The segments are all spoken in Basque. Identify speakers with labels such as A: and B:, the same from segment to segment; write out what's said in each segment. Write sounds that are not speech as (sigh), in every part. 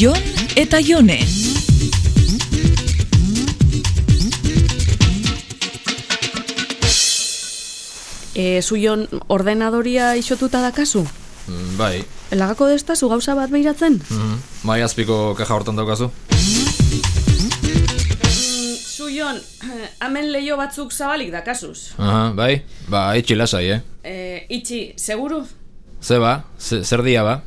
A: Jon eta Jone.
B: E, zu Jon ordenadoria isotuta dakazu?
C: Mm, Bai,
B: Lagako destazu gauza bat behiratzen?
C: mm, mai azpiko kaja hortan daukazu.
B: Zu Jon, (clears throat) hemen leio batzuk zabalik dakazuz.
C: Aha, bai, ba, etxi lasai, eh?
B: E, itxi, seguru?
C: Ze ba, ze, zer dia ba?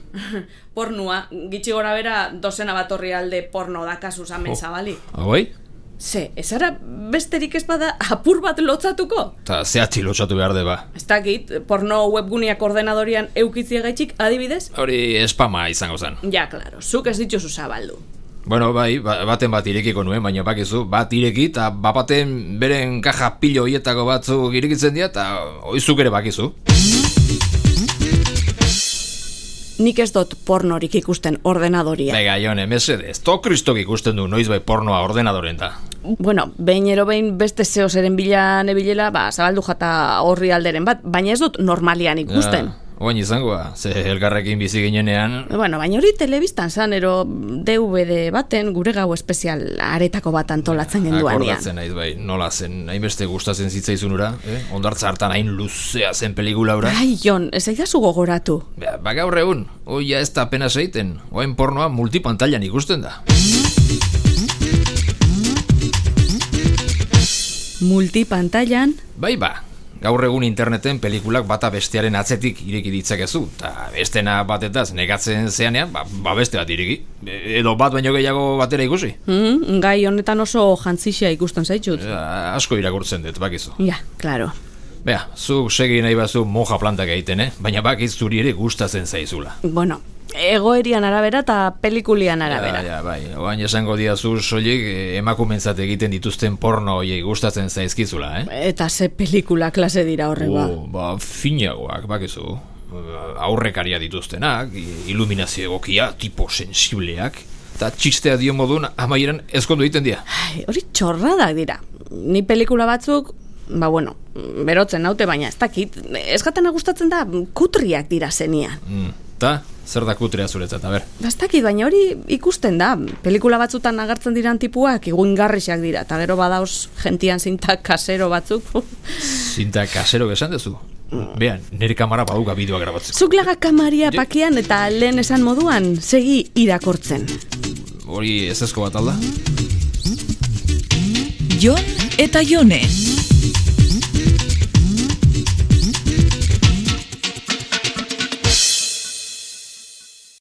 B: Pornua, gitxi gora bera dozena bat horri alde porno dakazuz hemen
C: Oh.
B: zabalik.
C: Hauei?
B: Ze, ezara besterik ez bada apur bat lotzatuko?
C: Ta ze atxi lotxatu behar de ba.
B: Ez dakit, porno webguneak ordenadorian eukitziegaitik adibidez?
C: Hori espama izango zen.
B: Ja, klaro, zuk ez dituzu zabaldu.
C: Bueno, bai, ba- baten bat irekiko nuen, baina bakizu, bat ireki eta bat baten beren kaja pilo hietako batzuk irekitzen dira eta oizuk ere bakizu.
B: Nik ez dut pornorik ikusten ordenadoria.
C: Bega, jone, mesedez, to kristok ikusten du noiz bai pornoa ordenadoren da.
B: Bueno, behin ero behin beste zeo zeren bila nebilela, ba, zabaldu jata horri alderen bat, baina ez dut normalian ikusten.
C: Ja, Ah, Oain izangoa, ze elkarrekin bizi ginenean,
B: Bueno, baina hori telebistan zan, ero DVD baten gure gau espezial aretako bat antolatzen genduanean.
C: Akordatzen naiz bai, nola zen, hainbeste gustatzen zitzaizun ura, eh? ondartza hartan hain luzea zen pelikula ura.
B: Ai, Bai, Jon, ez aidazu gogoratu.
C: Ba, ba gaur egun, oia ez da apenas egiten, oain pornoa multipantailan ikusten da.
B: Multipantailan,
C: Bai ba, gaur egun interneten pelikulak bata bestearen atzetik ireki ditzakezu, eta bestena batetaz negatzen zeanean, ba, ba beste bat ireki. E- Edo bat baino gehiago batera ikusi.
B: mm, gai honetan oso jantzisia ikusten zaitut.
C: Ja, Ba, asko irakurtzen dut, bakizu.
B: Ja, claro.
C: Bea, zuk segi nahi bazu moja plantak egiten, eh? Baina bakiz zuri ere gustatzen zaizula.
B: Bueno, egoerian arabera eta pelikulian arabera.
C: Ja, ja, bai. Oain esango diazu soilik eh, emakumeentzat egiten dituzten porno hoiei gustatzen zaizkizula, eh?
B: Eta ze pelikula klase dira horre, ba.
C: O, ba, finagoak, bakizu. Eh, Aurrekaria dituztenak, i- iluminazio egokia, tipo sensibleak, eta txistea dio modun amaieran ezkondu egiten dira.
B: Ai, hori txorradak dira. Ni pelikula batzuk, ba bueno, berotzen naute baina ez dakit, ez gatana gustatzen da kutriak dira zenian.
C: Mm, Ta, zer da kutrea zuretzat, a ber.
B: Ba, Ez dakit, baina hori ikusten da, pelikula batzutan agertzen diran tipuak iguingarrixak dira, eta gero badauz gentian zinta kasero batzuk. (laughs)
C: Zinta kasero esan duzu. Bean, nire kamara baduka bideoa grabatzeko.
B: Zuklaga kamaria pakian eta lehen esan moduan, segi irakortzen.
C: Hori ez ezko bat alda?
A: Jon eta Jone.